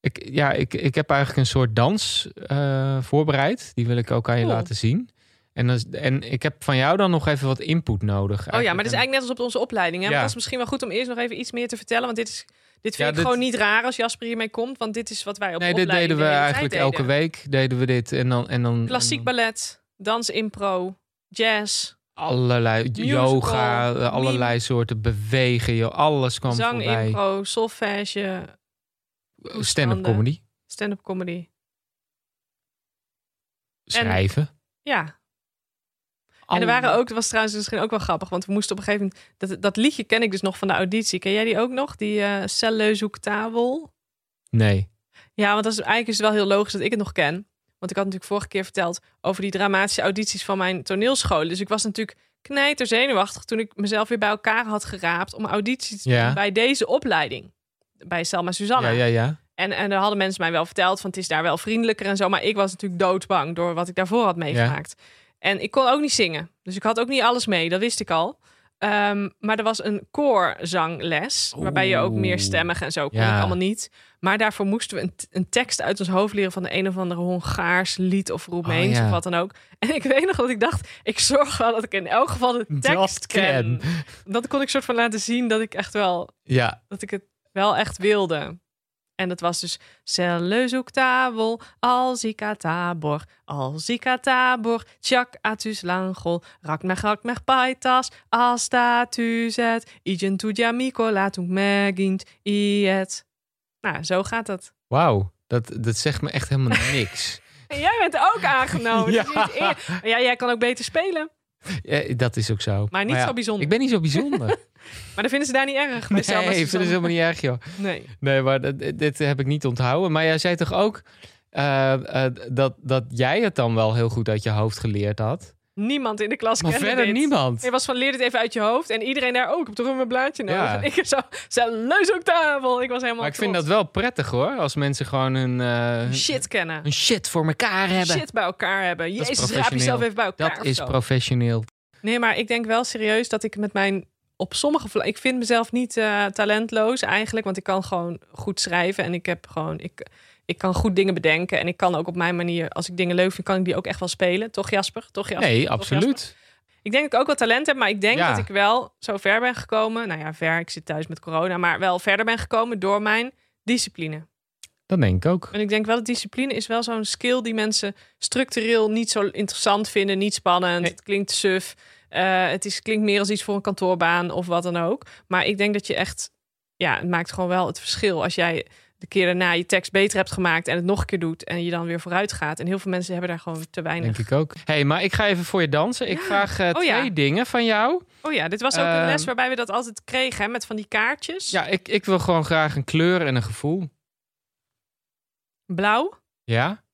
Speaker 1: ik, ja, ik, ik heb eigenlijk een soort dans eh, voorbereid. Die wil ik ook aan je
Speaker 2: Cool.
Speaker 1: laten zien. En, dat is- en ik heb van jou dan nog even wat input nodig.
Speaker 2: Oh ja, maar dat is
Speaker 1: En-
Speaker 2: eigenlijk net als op onze opleiding. Hè?
Speaker 1: Ja.
Speaker 2: Maar dat is misschien wel goed om eerst nog even iets meer te vertellen. Want dit, is, dit vind
Speaker 1: Ja,
Speaker 2: ik
Speaker 1: dit-
Speaker 2: gewoon niet raar als Jasper hiermee komt. Want dit is wat wij op
Speaker 1: Nee,
Speaker 2: de
Speaker 1: dit
Speaker 2: opleiding
Speaker 1: deden we
Speaker 2: de hele tijd
Speaker 1: eigenlijk
Speaker 2: deden.
Speaker 1: elke week. Deden we dit en dan... En dan
Speaker 2: Klassiek
Speaker 1: en
Speaker 2: ballet, dans impro, jazz,
Speaker 1: dan allerlei
Speaker 2: musical,
Speaker 1: yoga, eh,
Speaker 2: meme.
Speaker 1: allerlei soorten bewegen. Joh, alles kwam
Speaker 2: zang
Speaker 1: voorbij. Eh,
Speaker 2: impro, solfège,
Speaker 1: Stand-up
Speaker 2: toestanden,
Speaker 1: comedy.
Speaker 2: stand-up comedy.
Speaker 1: Schrijven.
Speaker 2: Ja, en er waren ook, dat was trouwens misschien ook wel grappig, want we moesten op een gegeven moment, dat, dat liedje ken ik dus nog van de auditie. Ken jij die ook nog? Die eh Celle zoekt tafel.
Speaker 1: Nee.
Speaker 2: Ja, want dat is, eigenlijk is het wel heel logisch dat ik het nog ken. Want ik had natuurlijk vorige keer verteld over die dramatische audities van mijn toneelschool. Dus ik was natuurlijk knijter zenuwachtig toen ik mezelf weer bij elkaar had geraapt om audities te doen
Speaker 1: Ja.
Speaker 2: bij deze opleiding. Bij Selma Susanna.
Speaker 1: Ja, ja, ja.
Speaker 2: En, en daar hadden mensen mij wel verteld van het is daar wel vriendelijker en zo. Maar ik was natuurlijk doodbang door wat ik daarvoor had meegemaakt. En ik kon ook niet zingen. Dus ik had ook niet alles mee, dat wist ik al. Ehm, maar er was een koorzangles, waarbij je ook
Speaker 1: Oeh.
Speaker 2: meer stemmig en zo kon
Speaker 1: Ja.
Speaker 2: ik allemaal niet. Maar daarvoor moesten we een, t- een tekst uit ons hoofd leren van de een of andere Hongaars lied of Roemeens
Speaker 1: Oh, ja.
Speaker 2: of wat dan ook. En ik weet nog dat ik dacht, ik zorg wel dat ik in elk geval de tekst
Speaker 1: Dat
Speaker 2: ken. Dat kon ik soort van laten zien dat ik echt wel
Speaker 1: Ja.
Speaker 2: dat ik het wel echt wilde. En dat was dus Celle zoekt tabel, als ik a tabor, als ik a tabor, tjak atus langol, rak meg rak meg paitas, als status het, igen tu diamico latung megint iet. Nou, zo gaat dat.
Speaker 1: Wauw. Dat, dat zegt me echt helemaal niks.
Speaker 2: En jij bent ook aangenomen.
Speaker 1: Ja.
Speaker 2: dus je ziet eer- Maar ja, jij kan ook beter spelen.
Speaker 1: Eh, dat is ook zo.
Speaker 2: e- Maar niet
Speaker 1: ja,
Speaker 2: zo bijzonder.
Speaker 1: Ik ben niet zo bijzonder.
Speaker 2: Maar dan vinden ze daar niet erg. bij
Speaker 1: nee,
Speaker 2: Selma
Speaker 1: ik vind het
Speaker 2: Suzanne.
Speaker 1: helemaal niet erg, joh.
Speaker 2: Nee.
Speaker 1: Nee, maar dat- dit, heb ik niet onthouden. Maar jij zei toch ook eh, eh, dat, dat jij het dan wel heel goed uit je hoofd geleerd had?
Speaker 2: Niemand in de klas
Speaker 1: Maar
Speaker 2: kende
Speaker 1: verder
Speaker 2: dit.
Speaker 1: niemand.
Speaker 2: Je was van leer dit even uit je hoofd. En iedereen daar ook. Ik heb toch een blaadje nodig.
Speaker 1: Ja.
Speaker 2: En ik zo, zelleus ook tafel. Ik was helemaal
Speaker 1: Maar ik vind dat
Speaker 2: trots.
Speaker 1: wel prettig hoor. Als mensen gewoon hun, eh, hun-
Speaker 2: Shit kennen.
Speaker 1: hun shit voor elkaar hebben.
Speaker 2: Shit bij elkaar hebben.
Speaker 1: is
Speaker 2: Jezus, raap
Speaker 1: professioneel.
Speaker 2: jezelf even bij elkaar.
Speaker 1: Dat
Speaker 2: of
Speaker 1: is
Speaker 2: zo.
Speaker 1: professioneel.
Speaker 2: Nee, maar ik denk wel serieus dat ik met mijn... Op sommige vla- Ik vind mezelf niet eh, talentloos eigenlijk. Want ik kan gewoon goed schrijven. En ik heb gewoon... Ik, ik kan goed dingen bedenken. En ik kan ook op mijn manier... Als ik dingen leuk vind, kan ik die ook echt wel spelen. Toch Jasper? Toch Jasper?
Speaker 1: Nee,
Speaker 2: Toch,
Speaker 1: absoluut.
Speaker 2: Ik denk dat ik ook wel talent heb, maar ik denk
Speaker 1: Ja.
Speaker 2: dat ik wel zo ver ben gekomen. Nou ja, ver, ik zit thuis met corona, maar wel verder ben gekomen door mijn discipline.
Speaker 1: Dat denk ik ook.
Speaker 2: En ik denk wel dat discipline is wel zo'n skill die mensen structureel niet zo interessant vinden, niet spannend.
Speaker 1: Nee.
Speaker 2: Het klinkt suf. eh, het is, klinkt meer als iets voor een kantoorbaan of wat dan ook. Maar ik denk dat je echt, ja, het maakt gewoon wel het verschil als jij de keer daarna je tekst beter hebt gemaakt en het nog een keer doet en je dan weer vooruit gaat. En heel veel mensen hebben daar gewoon te weinig.
Speaker 1: Denk ik ook. hey, maar ik ga even voor je dansen. Ik
Speaker 2: Ja.
Speaker 1: vraag eh,
Speaker 2: Oh,
Speaker 1: twee
Speaker 2: ja.
Speaker 1: dingen van jou.
Speaker 2: Oh ja, dit was ook een
Speaker 1: Ehm,
Speaker 2: les waarbij we dat altijd kregen, hè, met van die kaartjes.
Speaker 1: Ja, ik, ik wil gewoon graag een kleur en een gevoel.
Speaker 2: Blauw
Speaker 1: Ja?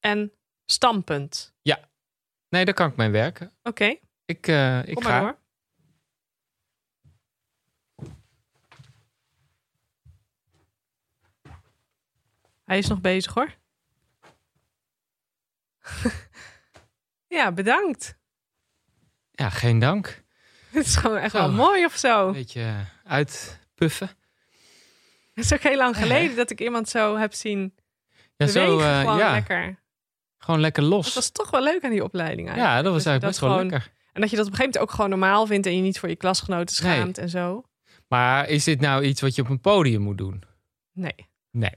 Speaker 2: en standpunt.
Speaker 1: Nee, daar kan ik mee werken.
Speaker 2: Oké,
Speaker 1: Ik, eh, ik
Speaker 2: kom
Speaker 1: ga.
Speaker 2: maar door. Hij is nog bezig hoor. ja, bedankt.
Speaker 1: Ja, geen dank.
Speaker 2: Het is gewoon echt wel
Speaker 1: Zo.
Speaker 2: mooi of zo.
Speaker 1: Een beetje eh, uitpuffen.
Speaker 2: Het is ook heel lang
Speaker 1: Ja,
Speaker 2: geleden dat ik iemand zo heb zien
Speaker 1: Ja,
Speaker 2: bewegen.
Speaker 1: zo, eh,
Speaker 2: gewoon
Speaker 1: ja,
Speaker 2: lekker.
Speaker 1: gewoon lekker
Speaker 2: Dat
Speaker 1: los.
Speaker 2: was toch wel leuk aan die opleiding eigenlijk.
Speaker 1: ja, dat was
Speaker 2: Dus
Speaker 1: eigenlijk
Speaker 2: dat
Speaker 1: best wel
Speaker 2: gewoon-
Speaker 1: lekker.
Speaker 2: En dat je dat op een gegeven moment ook gewoon normaal vindt en je niet voor je klasgenoten
Speaker 1: Nee.
Speaker 2: schaamt en zo.
Speaker 1: Maar is dit nou iets wat je op een podium moet doen?
Speaker 2: Nee.
Speaker 1: Nee.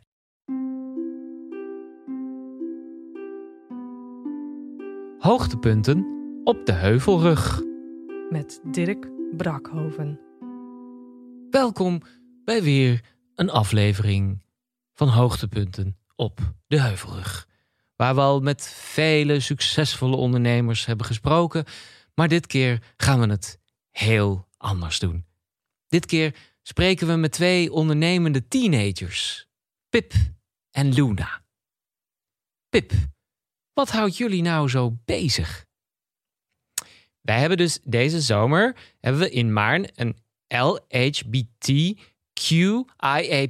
Speaker 1: Hoogtepunten op de heuvelrug.
Speaker 2: met Dirk Brakhoven.
Speaker 1: Welkom bij weer een aflevering van Hoogtepunten op de Heuvelrug. Waar we al met vele succesvolle ondernemers hebben gesproken, maar dit keer gaan we het heel anders doen. Dit keer spreken we met twee ondernemende teenagers, Pip en Luna. Pip, wat houdt jullie nou zo bezig? Wij hebben dus deze zomer hebben we in Maarn een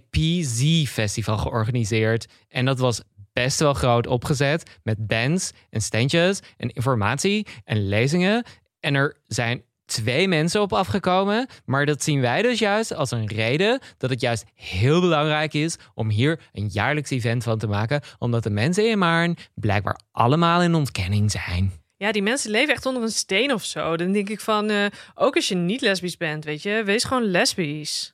Speaker 1: LHBTQIAPZ-festival georganiseerd. En dat was best wel groot opgezet met bands en standjes en informatie en lezingen. En er zijn twee mensen op afgekomen. Maar dat zien wij dus juist als een reden dat het juist heel belangrijk is om hier een jaarlijks event van te maken. Omdat de mensen in Maarn blijkbaar allemaal in ontkenning zijn.
Speaker 2: Ja, die mensen leven echt onder een steen of zo. Dan denk ik van, eh, ook als je niet lesbisch bent, weet je, wees gewoon lesbisch.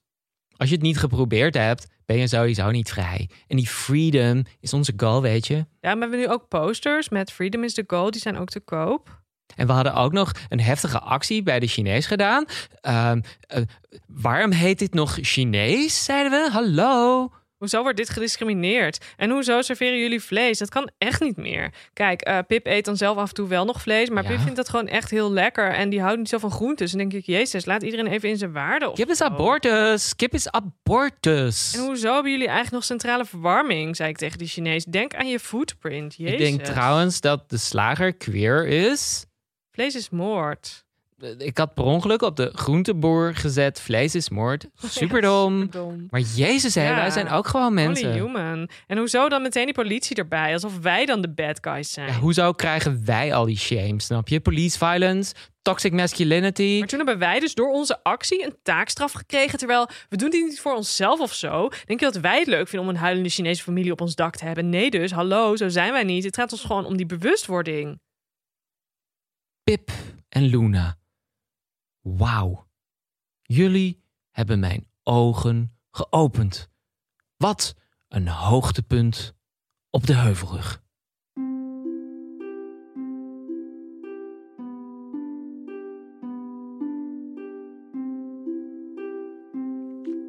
Speaker 1: Als je het niet geprobeerd hebt, ben je sowieso niet vrij. En die freedom is onze goal, weet je.
Speaker 2: Ja, maar we hebben nu ook posters met Freedom is the Goal, die zijn ook te koop.
Speaker 1: En we hadden ook nog een heftige actie bij de Chinees gedaan. Ehm, eh, waarom heet dit nog Chinees? Zeiden we. Hallo.
Speaker 2: Hoezo wordt dit gediscrimineerd? En hoezo serveren jullie vlees? Dat kan echt niet meer. Kijk, eh, Pip eet dan zelf af en toe wel nog vlees, maar
Speaker 1: Ja.
Speaker 2: Pip vindt dat gewoon echt heel lekker. En die houdt niet zo van groentes. En dan denk ik, jezus, laat iedereen even in zijn waarde op.
Speaker 1: Kip is abortus. Kip is abortus.
Speaker 2: En hoezo hebben jullie eigenlijk nog centrale verwarming, zei ik tegen die Chinees. Denk aan je footprint, jezus.
Speaker 1: Ik denk trouwens dat de slager queer is. Eh,
Speaker 2: Vlees is moord.
Speaker 1: Ik had per ongeluk op de groenteboer gezet. Vlees is moord. Superdom.
Speaker 2: Superdom.
Speaker 1: Maar Jezus, hè,
Speaker 2: Ja.
Speaker 1: wij zijn ook gewoon
Speaker 2: Only
Speaker 1: mensen.
Speaker 2: human. En hoezo dan meteen die politie erbij? Alsof wij dan de bad guys zijn.
Speaker 1: Ja, hoezo krijgen wij al die shame, snap je? Police violence, toxic masculinity.
Speaker 2: Maar toen hebben wij dus door onze actie een taakstraf gekregen. Terwijl we doen dit niet voor onszelf of zo. Denk je dat wij het leuk vinden om een huilende Chinese familie op ons dak te hebben? Nee dus, hallo, zo zijn wij niet. Het gaat ons gewoon om die bewustwording.
Speaker 1: Pip en Luna. Wauw. Jullie hebben mijn ogen geopend. Wat een hoogtepunt op de heuvelrug.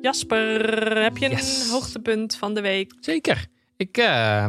Speaker 2: Jasper, heb je een
Speaker 1: Yes.
Speaker 2: hoogtepunt van de week?
Speaker 1: Zeker. Ik, eh,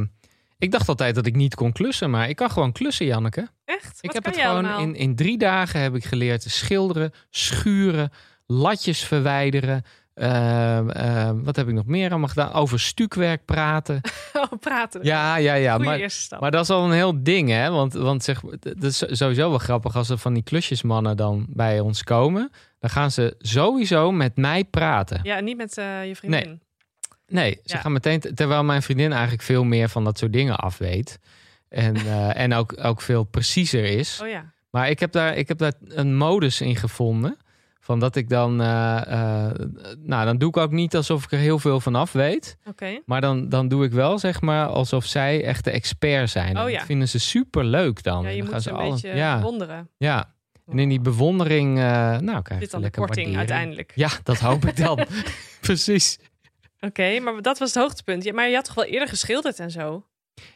Speaker 1: ik dacht altijd dat ik niet kon klussen, maar ik kan gewoon klussen, Janneke.
Speaker 2: Echt?
Speaker 1: ik
Speaker 2: Wat
Speaker 1: heb
Speaker 2: kan
Speaker 1: het
Speaker 2: jij
Speaker 1: gewoon
Speaker 2: allemaal?
Speaker 1: in, in drie dagen heb ik geleerd te schilderen, schuren, latjes verwijderen. ehm, ehm, wat heb ik nog meer allemaal gedaan? Over stuukwerk praten.
Speaker 2: Oh, praten.
Speaker 1: Ja, ja, ja.
Speaker 2: Goeie
Speaker 1: Maar
Speaker 2: eerste stap.
Speaker 1: Maar dat is al een heel ding, hè? Want, want zeg, het is sowieso wel grappig als er van die klusjesmannen dan bij ons komen. Dan gaan ze sowieso met mij praten.
Speaker 2: Ja, niet met eh, je vriendin.
Speaker 1: Nee, ze
Speaker 2: Ja.
Speaker 1: gaan meteen. Terwijl mijn vriendin eigenlijk veel meer van dat soort dingen af weet. En, eh, en ook, ook veel preciezer is.
Speaker 2: Oh ja.
Speaker 1: Maar ik heb daar, ik heb daar een modus in gevonden. Van dat ik dan. eh, eh, nou, dan doe ik ook niet alsof ik er heel veel van af weet.
Speaker 2: Oké.
Speaker 1: Maar dan, dan doe ik wel zeg maar alsof zij echt de expert zijn.
Speaker 2: Oh
Speaker 1: En
Speaker 2: ja.
Speaker 1: Dat vinden ze super leuk dan.
Speaker 2: Ja, je
Speaker 1: dan
Speaker 2: moet ze een
Speaker 1: alle-
Speaker 2: beetje
Speaker 1: ja,
Speaker 2: wonderen.
Speaker 1: ja. En in die bewondering, eh nou, krijg
Speaker 2: Dit
Speaker 1: je
Speaker 2: dan de
Speaker 1: lekker
Speaker 2: korting
Speaker 1: waardering.
Speaker 2: uiteindelijk.
Speaker 1: Ja, dat hoop ik dan. Precies.
Speaker 2: Oké, maar dat was het hoogtepunt. Ja, maar je had toch wel eerder geschilderd en zo?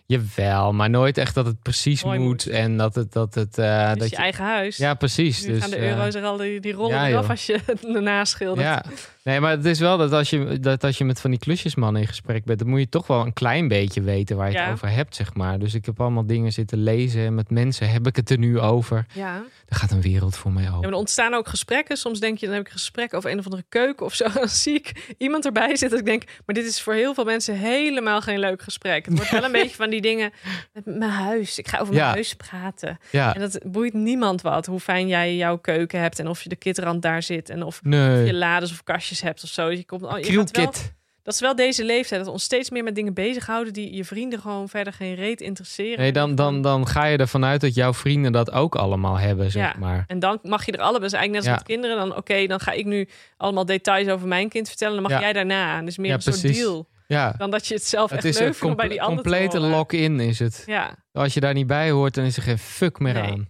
Speaker 1: Jawel, maar nooit echt dat het precies
Speaker 2: Mooi
Speaker 1: moet,
Speaker 2: moet.
Speaker 1: en dat het dat het eh,
Speaker 2: Dus
Speaker 1: dat
Speaker 2: je, eigen huis.
Speaker 1: ja precies.
Speaker 2: Nu
Speaker 1: dus
Speaker 2: gaan de
Speaker 1: eh,
Speaker 2: euro's er al die, die rollen
Speaker 1: ja,
Speaker 2: eraf
Speaker 1: joh.
Speaker 2: als je het erna schildert.
Speaker 1: ja, nee, maar het is wel dat als je dat als je met van die klusjesmannen in gesprek bent, dan moet je toch wel een klein beetje weten waar je
Speaker 2: Ja.
Speaker 1: het over hebt, zeg maar. Dus ik heb allemaal dingen zitten lezen en met mensen heb ik het er nu over.
Speaker 2: Ja. ja,
Speaker 1: Er gaat een wereld voor mij
Speaker 2: maar
Speaker 1: open.
Speaker 2: er ontstaan ook gesprekken. Soms denk je, dan heb ik een gesprek over een of andere keuken of zo. Dan zie ik iemand erbij zitten. dat Ik denk, maar dit is voor heel veel mensen helemaal geen leuk gesprek. Het wordt wel een beetje van die dingen. met Mijn huis, ik ga over mijn
Speaker 1: Ja.
Speaker 2: huis praten.
Speaker 1: Ja,
Speaker 2: En dat boeit niemand wat. Hoe fijn jij jouw keuken hebt. En of je de kitrand daar zit. En of je
Speaker 1: nee.
Speaker 2: lades of kastjes hebt of zo. Je komt, oh, je gaat wel,
Speaker 1: Krielkit.
Speaker 2: dat is wel deze leeftijd. Dat we ons steeds meer met dingen bezighouden. die je vrienden gewoon verder geen reet interesseren.
Speaker 1: Nee, dan, dan, dan ga je ervan uit dat jouw vrienden dat ook allemaal hebben, zeg
Speaker 2: Ja.
Speaker 1: maar.
Speaker 2: En dan mag je er allebei, dus eigenlijk net als
Speaker 1: Ja.
Speaker 2: met kinderen, dan oké, dan ga ik nu allemaal details over mijn kind vertellen, dan mag
Speaker 1: Ja.
Speaker 2: jij daarna. En Dus meer
Speaker 1: Ja,
Speaker 2: een soort
Speaker 1: precies.
Speaker 2: deal
Speaker 1: Ja,
Speaker 2: dan dat je het zelf
Speaker 1: het
Speaker 2: echt
Speaker 1: is
Speaker 2: leuk
Speaker 1: een
Speaker 2: vindt om bij
Speaker 1: comple-
Speaker 2: die ander te
Speaker 1: complete
Speaker 2: horen.
Speaker 1: lock-in is het.
Speaker 2: Ja,
Speaker 1: Als je daar niet bij hoort, dan is er geen fuck meer
Speaker 2: Nee.
Speaker 1: aan.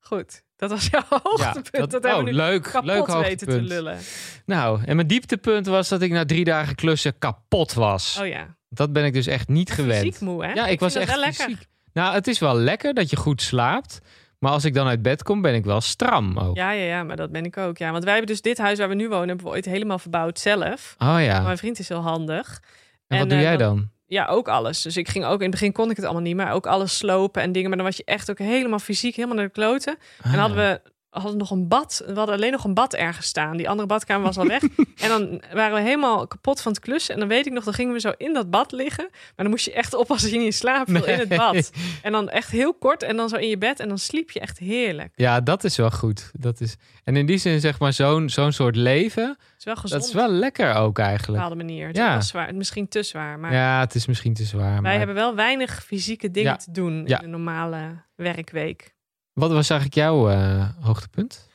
Speaker 2: goed. Dat was jouw
Speaker 1: Ja,
Speaker 2: hoogtepunt. dat,
Speaker 1: oh,
Speaker 2: hebben we nu
Speaker 1: leuk,
Speaker 2: kapot
Speaker 1: leuk
Speaker 2: weten te
Speaker 1: hoogtepunt.
Speaker 2: lullen.
Speaker 1: Nou, en mijn dieptepunt was dat ik na drie dagen klussen kapot was.
Speaker 2: Oh ja.
Speaker 1: Dat ben ik dus echt niet
Speaker 2: Maar
Speaker 1: gewend.
Speaker 2: Fysiek moe, hè?
Speaker 1: Ja, ik, was
Speaker 2: vind
Speaker 1: echt
Speaker 2: dat wel
Speaker 1: fysiek. Nou, het is wel lekker dat je goed slaapt. Maar als ik dan uit bed kom, ben ik wel stram ook.
Speaker 2: Ja, ja, ja, maar dat ben ik ook. Ja, want wij hebben dus dit huis waar we nu wonen, hebben we ooit helemaal verbouwd zelf.
Speaker 1: Oh ja.
Speaker 2: Mijn vriend is heel handig.
Speaker 1: En wat
Speaker 2: en,
Speaker 1: doe
Speaker 2: eh,
Speaker 1: jij
Speaker 2: dan-
Speaker 1: dan?
Speaker 2: Ja, ook alles. Dus ik ging ook, in het begin kon ik het allemaal niet, maar ook alles slopen en dingen. Maar dan was je echt ook helemaal fysiek, helemaal naar de
Speaker 1: Ah,
Speaker 2: kloten. En hadden we hadden nog een bad. We hadden alleen nog een bad ergens staan. Die andere badkamer was al weg. en dan waren we helemaal kapot van het klussen. En dan weet ik nog, dan gingen we zo in dat bad liggen. Maar dan moest je echt oppassen dat je niet in slaap viel in het bad. En dan echt heel kort en dan zo in je bed. En dan sliep je echt heerlijk.
Speaker 1: Ja, dat is wel goed. Dat is... En in die zin, zeg maar, zo'n zo'n soort leven,
Speaker 2: Het is wel gezond
Speaker 1: dat is wel lekker ook
Speaker 2: op een
Speaker 1: eigenlijk.
Speaker 2: bepaalde manier. Het
Speaker 1: Ja.
Speaker 2: was zwaar. Misschien te zwaar. Maar
Speaker 1: Ja, het is misschien te zwaar.
Speaker 2: wij
Speaker 1: Maar...
Speaker 2: hebben wel weinig fysieke dingen
Speaker 1: Ja.
Speaker 2: te doen
Speaker 1: Ja.
Speaker 2: in een normale werkweek.
Speaker 1: Wat was eigenlijk jouw eh, hoogtepunt?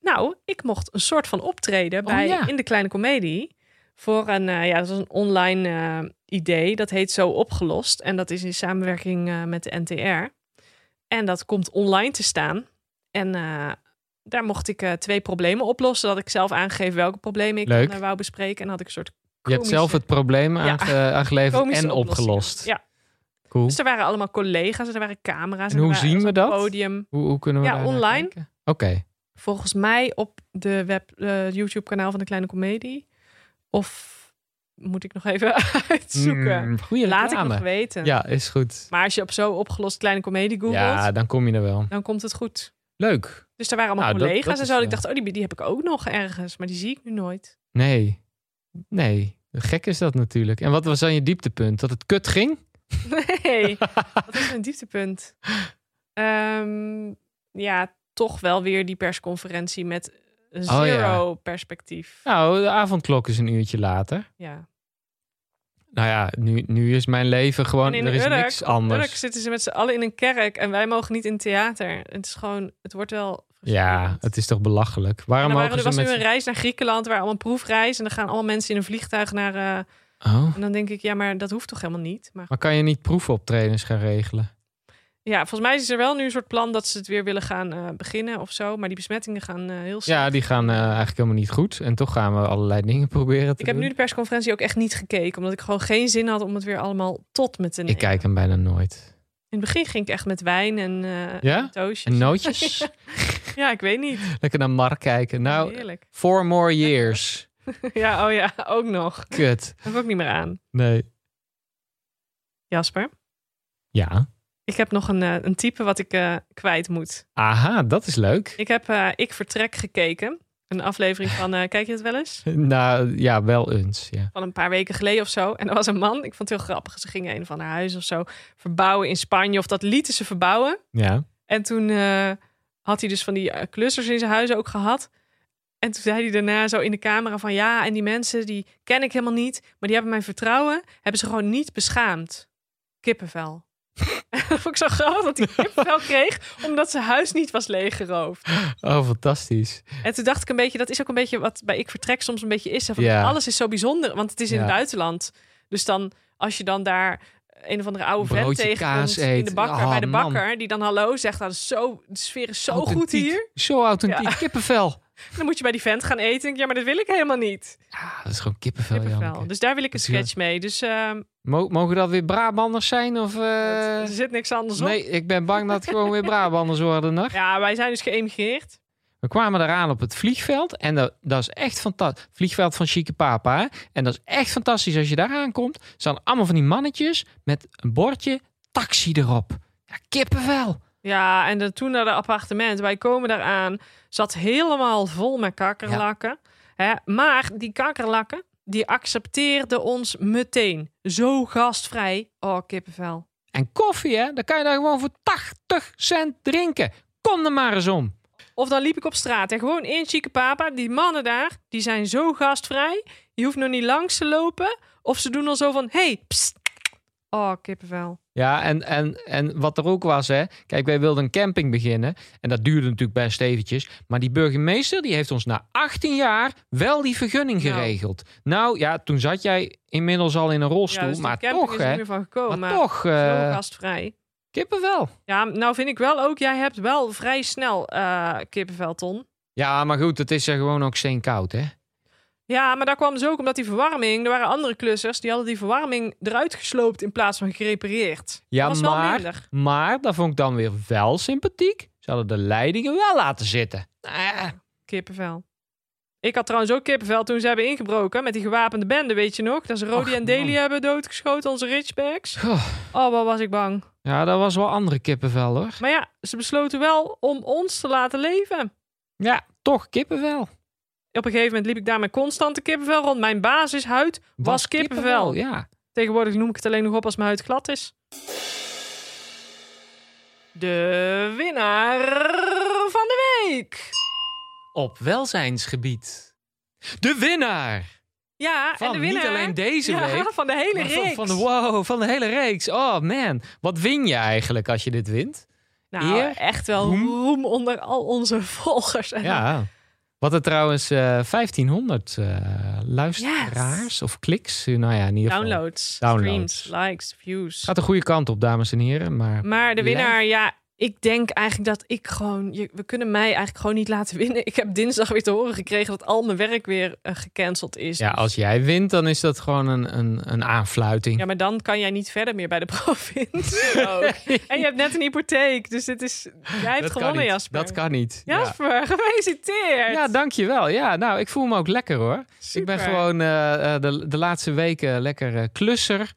Speaker 2: Nou, ik mocht een soort van optreden bij
Speaker 1: Oh, ja.
Speaker 2: in de kleine komedie voor een eh, ja, dat was een online eh, idee dat heet zo opgelost en dat is in samenwerking eh, met de NTR en dat komt online te staan en eh, daar mocht ik eh, twee problemen oplossen. Dat had ik zelf aangegeven welke problemen ik
Speaker 1: Leuk.
Speaker 2: dan, eh, wou bespreken. En had ik een soort
Speaker 1: Je hebt zelf het probleem aange- aangeleverd
Speaker 2: komische
Speaker 1: en
Speaker 2: oplossingen.
Speaker 1: opgelost.
Speaker 2: Ja,
Speaker 1: Cool.
Speaker 2: dus er waren allemaal collega's, er waren camera's.
Speaker 1: En hoe
Speaker 2: er waren-
Speaker 1: zien
Speaker 2: er was
Speaker 1: we dat?
Speaker 2: een Podium.
Speaker 1: Hoe, hoe kunnen we
Speaker 2: Ja,
Speaker 1: daarnaar
Speaker 2: online.
Speaker 1: kijken? Oké.
Speaker 2: volgens mij op de web, eh, YouTube-kanaal van de Kleine Comedie. Of moet ik nog even uitzoeken?
Speaker 1: Mm, goeie
Speaker 2: Laat ik
Speaker 1: reclame.
Speaker 2: nog weten.
Speaker 1: Ja, is goed.
Speaker 2: Maar als je op zo opgelost Kleine Comedie googelt,
Speaker 1: Ja, dan kom je er wel.
Speaker 2: dan komt het goed.
Speaker 1: Leuk.
Speaker 2: Dus daar waren allemaal
Speaker 1: Nou, dat-
Speaker 2: collega's
Speaker 1: dat
Speaker 2: en
Speaker 1: is,
Speaker 2: zo. dat
Speaker 1: eh,
Speaker 2: Ik dacht, oh, die, die heb ik ook nog ergens. Maar die zie ik nu nooit.
Speaker 1: Nee. Nee. Gek is dat natuurlijk. En wat was dan je dieptepunt? Dat het kut ging?
Speaker 2: Nee, dat is mijn dieptepunt. Ehm, ja, toch wel weer die persconferentie met
Speaker 1: Oh, ja.
Speaker 2: zero perspectief.
Speaker 1: Nou, de avondklok is een uurtje later.
Speaker 2: Ja.
Speaker 1: Nou ja, nu, nu is mijn leven gewoon...
Speaker 2: En in
Speaker 1: Er is
Speaker 2: Urk,
Speaker 1: niks
Speaker 2: op
Speaker 1: anders.
Speaker 2: Urk zitten ze met z'n allen in een kerk en wij mogen niet in theater. Het is gewoon, het wordt wel.
Speaker 1: Ja,
Speaker 2: frustrerend.
Speaker 1: het is toch belachelijk. Waarom
Speaker 2: En dan waren,
Speaker 1: mogen
Speaker 2: er
Speaker 1: ze
Speaker 2: was
Speaker 1: met...
Speaker 2: nu een reis naar Griekenland, waar allemaal een proefreis. En dan gaan allemaal mensen in een vliegtuig naar. eh,
Speaker 1: Oh,
Speaker 2: en dan denk ik, ja, maar dat hoeft toch helemaal niet. Maar
Speaker 1: maar kan je niet proefoptredens gaan regelen?
Speaker 2: ja, volgens mij is er wel nu een soort plan dat ze het weer willen gaan eh, beginnen of zo. Maar die besmettingen gaan eh, heel snel.
Speaker 1: Ja, die gaan eh, eigenlijk helemaal niet goed. En toch gaan we allerlei dingen proberen te
Speaker 2: ik heb
Speaker 1: doen.
Speaker 2: nu de persconferentie ook echt niet gekeken, omdat ik gewoon geen zin had om het weer allemaal tot me te nemen.
Speaker 1: Ik kijk hem bijna nooit.
Speaker 2: In het begin ging ik echt met wijn en eh
Speaker 1: Ja?
Speaker 2: en toastjes.
Speaker 1: En nootjes?
Speaker 2: Ja, ik weet niet.
Speaker 1: Lekker naar Mark kijken. Nou,
Speaker 2: Heerlijk.
Speaker 1: four more years.
Speaker 2: Ja, oh ja, ook nog.
Speaker 1: Kut.
Speaker 2: Heb ik ook niet meer aan.
Speaker 1: Nee.
Speaker 2: Jasper,
Speaker 1: Ja.
Speaker 2: ik heb nog een, eh, een type wat ik eh, kwijt moet.
Speaker 1: Aha, dat is leuk.
Speaker 2: Ik heb eh, Ik Vertrek gekeken. Een aflevering van, eh, kijk je het wel eens?
Speaker 1: Nou, ja, wel eens. Ja.
Speaker 2: Van een paar weken geleden of zo. En er was een man, ik vond het heel grappig. Ze gingen een of ander huis of zo verbouwen in Spanje. Of dat lieten ze verbouwen.
Speaker 1: ja.
Speaker 2: En toen eh, had hij dus van die eh, clusters in zijn huis ook gehad. En toen zei hij daarna zo in de camera van... Ja, en die mensen, die ken ik helemaal niet. Maar die hebben mijn vertrouwen, hebben ze gewoon niet beschaamd. Kippenvel. dat vond ik zo grappig dat hij kippenvel kreeg... omdat zijn huis niet was leeggeroofd.
Speaker 1: Oh, fantastisch.
Speaker 2: En toen dacht ik een beetje... Dat is ook een beetje wat bij Ik Vertrek soms een beetje is. hè, Van,
Speaker 1: Ja.
Speaker 2: Alles is zo bijzonder, want het is in
Speaker 1: Ja.
Speaker 2: het buitenland. Dus dan, als je dan daar een of andere oude vent
Speaker 1: Broodje kaas
Speaker 2: tegenkomt... in
Speaker 1: eet.
Speaker 2: de bakker,
Speaker 1: Ah,
Speaker 2: bij de
Speaker 1: man.
Speaker 2: bakker, die dan hallo zegt... Nou, dat is zo, de sfeer is zo goed
Speaker 1: Authentiek.
Speaker 2: hier.
Speaker 1: Zo authentiek. Kippenvel.
Speaker 2: Dan moet je bij die vent gaan eten. Ik Denk, ja, maar dat wil ik helemaal niet.
Speaker 1: Ja, dat is gewoon kippenvel,
Speaker 2: Kippenvel.
Speaker 1: Janneke.
Speaker 2: Dus daar wil ik een
Speaker 1: Dat is wel-
Speaker 2: sketch mee. Dus ehm,
Speaker 1: Mo- mogen dat weer Brabanders zijn? Of, eh,
Speaker 2: het- er zit niks anders op.
Speaker 1: Nee, ik ben bang dat het gewoon weer Brabanders worden. nog.
Speaker 2: Ja, wij zijn dus geëmigreerd.
Speaker 1: We kwamen eraan op het vliegveld. En dat, dat is echt fantastisch. Vliegveld van Chique Papa. hè? En dat is echt fantastisch als je daar aankomt. Staan allemaal van die mannetjes met een bordje taxi erop. Ja, kippenvel.
Speaker 2: Ja, en dan toen naar de appartement. Wij komen daar aan. Zat helemaal vol met kakkerlakken. Hè? Maar die kakkerlakken, die accepteerden ons meteen. Zo gastvrij. Oh, kippenvel.
Speaker 1: En koffie, hè? Dan kan je daar gewoon voor 80 cent drinken. Kom er maar eens om.
Speaker 2: Of dan liep ik op straat en gewoon in chique papa. Die mannen daar, die zijn zo gastvrij. Je hoeft nog niet langs te lopen. Of ze doen al zo van, hey, psst. Oh, kippenvel.
Speaker 1: Ja, en, en, en wat er ook was, hè. Kijk, wij wilden een camping beginnen. En dat duurde natuurlijk best eventjes. Maar die burgemeester, die heeft ons na 18 jaar wel die vergunning
Speaker 2: Nou.
Speaker 1: geregeld. Nou ja, toen zat jij inmiddels al in een rolstoel.
Speaker 2: dus die
Speaker 1: maar
Speaker 2: camping
Speaker 1: toch,
Speaker 2: is er
Speaker 1: hè.
Speaker 2: niet meer van gekomen.
Speaker 1: maar
Speaker 2: Maar
Speaker 1: toch,
Speaker 2: zo
Speaker 1: eh,
Speaker 2: gastvrij.
Speaker 1: kippenvel.
Speaker 2: Ja, nou vind ik wel ook, jij hebt wel vrij snel eh, kippenvel, Ton.
Speaker 1: Ja, maar goed, het is er gewoon ook steenkoud, hè?
Speaker 2: Ja, maar daar kwam dus ook omdat die verwarming... Er waren andere klussers, die hadden die verwarming eruit gesloopt... in plaats van gerepareerd.
Speaker 1: Ja,
Speaker 2: dat was wel
Speaker 1: maar,
Speaker 2: minder.
Speaker 1: maar dat vond ik dan weer wel sympathiek. Ze hadden de leidingen wel laten zitten. Ah,
Speaker 2: Kippenvel. Ik had trouwens ook kippenvel toen ze hebben ingebroken met die gewapende bende, weet je nog? Dat ze Rodi
Speaker 1: Och,
Speaker 2: en Deli
Speaker 1: man.
Speaker 2: hebben doodgeschoten, onze richbacks.
Speaker 1: goh.
Speaker 2: Oh, wat was ik bang.
Speaker 1: Ja, dat was wel andere kippenvel hoor.
Speaker 2: Maar ja, ze besloten wel om ons te laten leven.
Speaker 1: Ja, toch kippenvel.
Speaker 2: Op een gegeven moment liep ik daar met constante kippenvel rond. Mijn basishuid was, kippenvel.
Speaker 1: Ja.
Speaker 2: Tegenwoordig noem ik het alleen nog op als mijn huid glad is. De winnaar van de week.
Speaker 1: Op welzijnsgebied. De winnaar
Speaker 2: Ja,
Speaker 1: van
Speaker 2: en de winnaar
Speaker 1: niet alleen deze
Speaker 2: ja,
Speaker 1: week.
Speaker 2: van de hele
Speaker 1: maar
Speaker 2: reeks.
Speaker 1: Van, van de, wow, van de hele reeks. Oh man, wat win je eigenlijk als je dit wint?
Speaker 2: Nou,
Speaker 1: Eer,
Speaker 2: echt wel roem.
Speaker 1: roem.
Speaker 2: onder al onze volgers. En
Speaker 1: Ja. Wat er trouwens eh, 1500 eh, luisteraars of kliks. eh, Nou ja, in ieder geval.
Speaker 2: Downloads,
Speaker 1: Downloads.
Speaker 2: streams, likes, views.
Speaker 1: Gaat de goede kant op, dames en heren. Maar
Speaker 2: Maar de winnaar, ja, ik denk eigenlijk dat ik gewoon... je- we kunnen mij eigenlijk gewoon niet laten winnen. Ik heb dinsdag weer te horen gekregen dat al mijn werk weer eh, gecanceld is.
Speaker 1: ja, oh,
Speaker 2: Dus-
Speaker 1: als jij wint, dan is dat gewoon een, een, een aanfluiting.
Speaker 2: Ja, maar dan kan jij niet verder meer bij de provincie. En je hebt net een hypotheek, dus dit is... Jij hebt
Speaker 1: Oh. dat kan
Speaker 2: gewonnen,
Speaker 1: niet.
Speaker 2: Jasper.
Speaker 1: Dat kan niet. Ja.
Speaker 2: Jasper, gefeliciteerd.
Speaker 1: Ja, dankjewel. Ja, nou, ik voel me ook lekker hoor. Ik ben
Speaker 2: Super.
Speaker 1: gewoon eh, eh, de, de laatste weken lekker eh, klusser,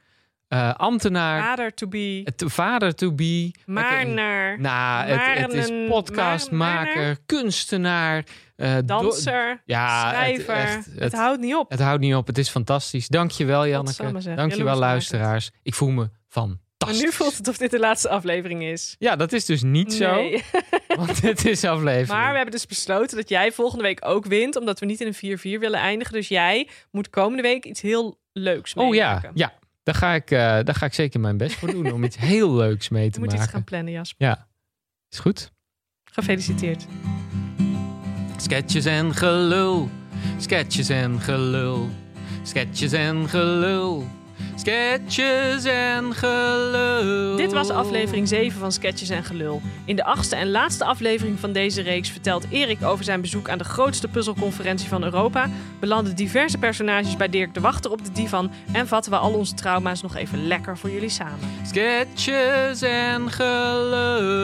Speaker 1: eh, ambtenaar,
Speaker 2: Vader to be,
Speaker 1: het vader to be.
Speaker 2: maar
Speaker 1: Lekker in-
Speaker 2: naar,
Speaker 1: nou, het, het
Speaker 2: maar
Speaker 1: is
Speaker 2: een- maar-
Speaker 1: podcastmaker, kunstenaar, eh, do-
Speaker 2: danser,
Speaker 1: ja, het-
Speaker 2: schrijver. Het,
Speaker 1: echt, het,
Speaker 2: houdt niet op.
Speaker 1: het houdt niet op. Het is fantastisch. Dankjewel, Janneke.
Speaker 2: Godsamme zeg,
Speaker 1: Dankjewel,
Speaker 2: jaloersmakend.
Speaker 1: luisteraars. Ik voel me
Speaker 2: Maar
Speaker 1: fantastisch.
Speaker 2: nu voelt het of dit de laatste aflevering is.
Speaker 1: Ja, dat is dus niet zo,
Speaker 2: Nee.
Speaker 1: want dit is aflevering.
Speaker 2: Maar we hebben dus besloten dat jij volgende week ook wint, omdat we niet in een 4-4 willen eindigen. Dus jij moet komende week iets heel leuks
Speaker 1: Oh ja,
Speaker 2: meemaken.
Speaker 1: ja. Daar ga, ik, eh, daar ga ik zeker mijn best voor doen om iets heel leuks mee
Speaker 2: Je
Speaker 1: te
Speaker 2: moet
Speaker 1: maken.
Speaker 2: iets gaan plannen, Jasper.
Speaker 1: Is goed.
Speaker 2: Gefeliciteerd.
Speaker 1: Sketches en gelul, sketches en gelul, sketches en gelul, sketches en gelul.
Speaker 2: Dit was aflevering 7 van Sketches en Gelul. In de achtste en laatste aflevering van deze reeks vertelt Erik over zijn bezoek aan de grootste puzzelconferentie van Europa, belanden diverse personages bij Dirk de Wachter op de divan en vatten we al onze trauma's nog even lekker voor jullie samen.
Speaker 1: Sketches en gelul.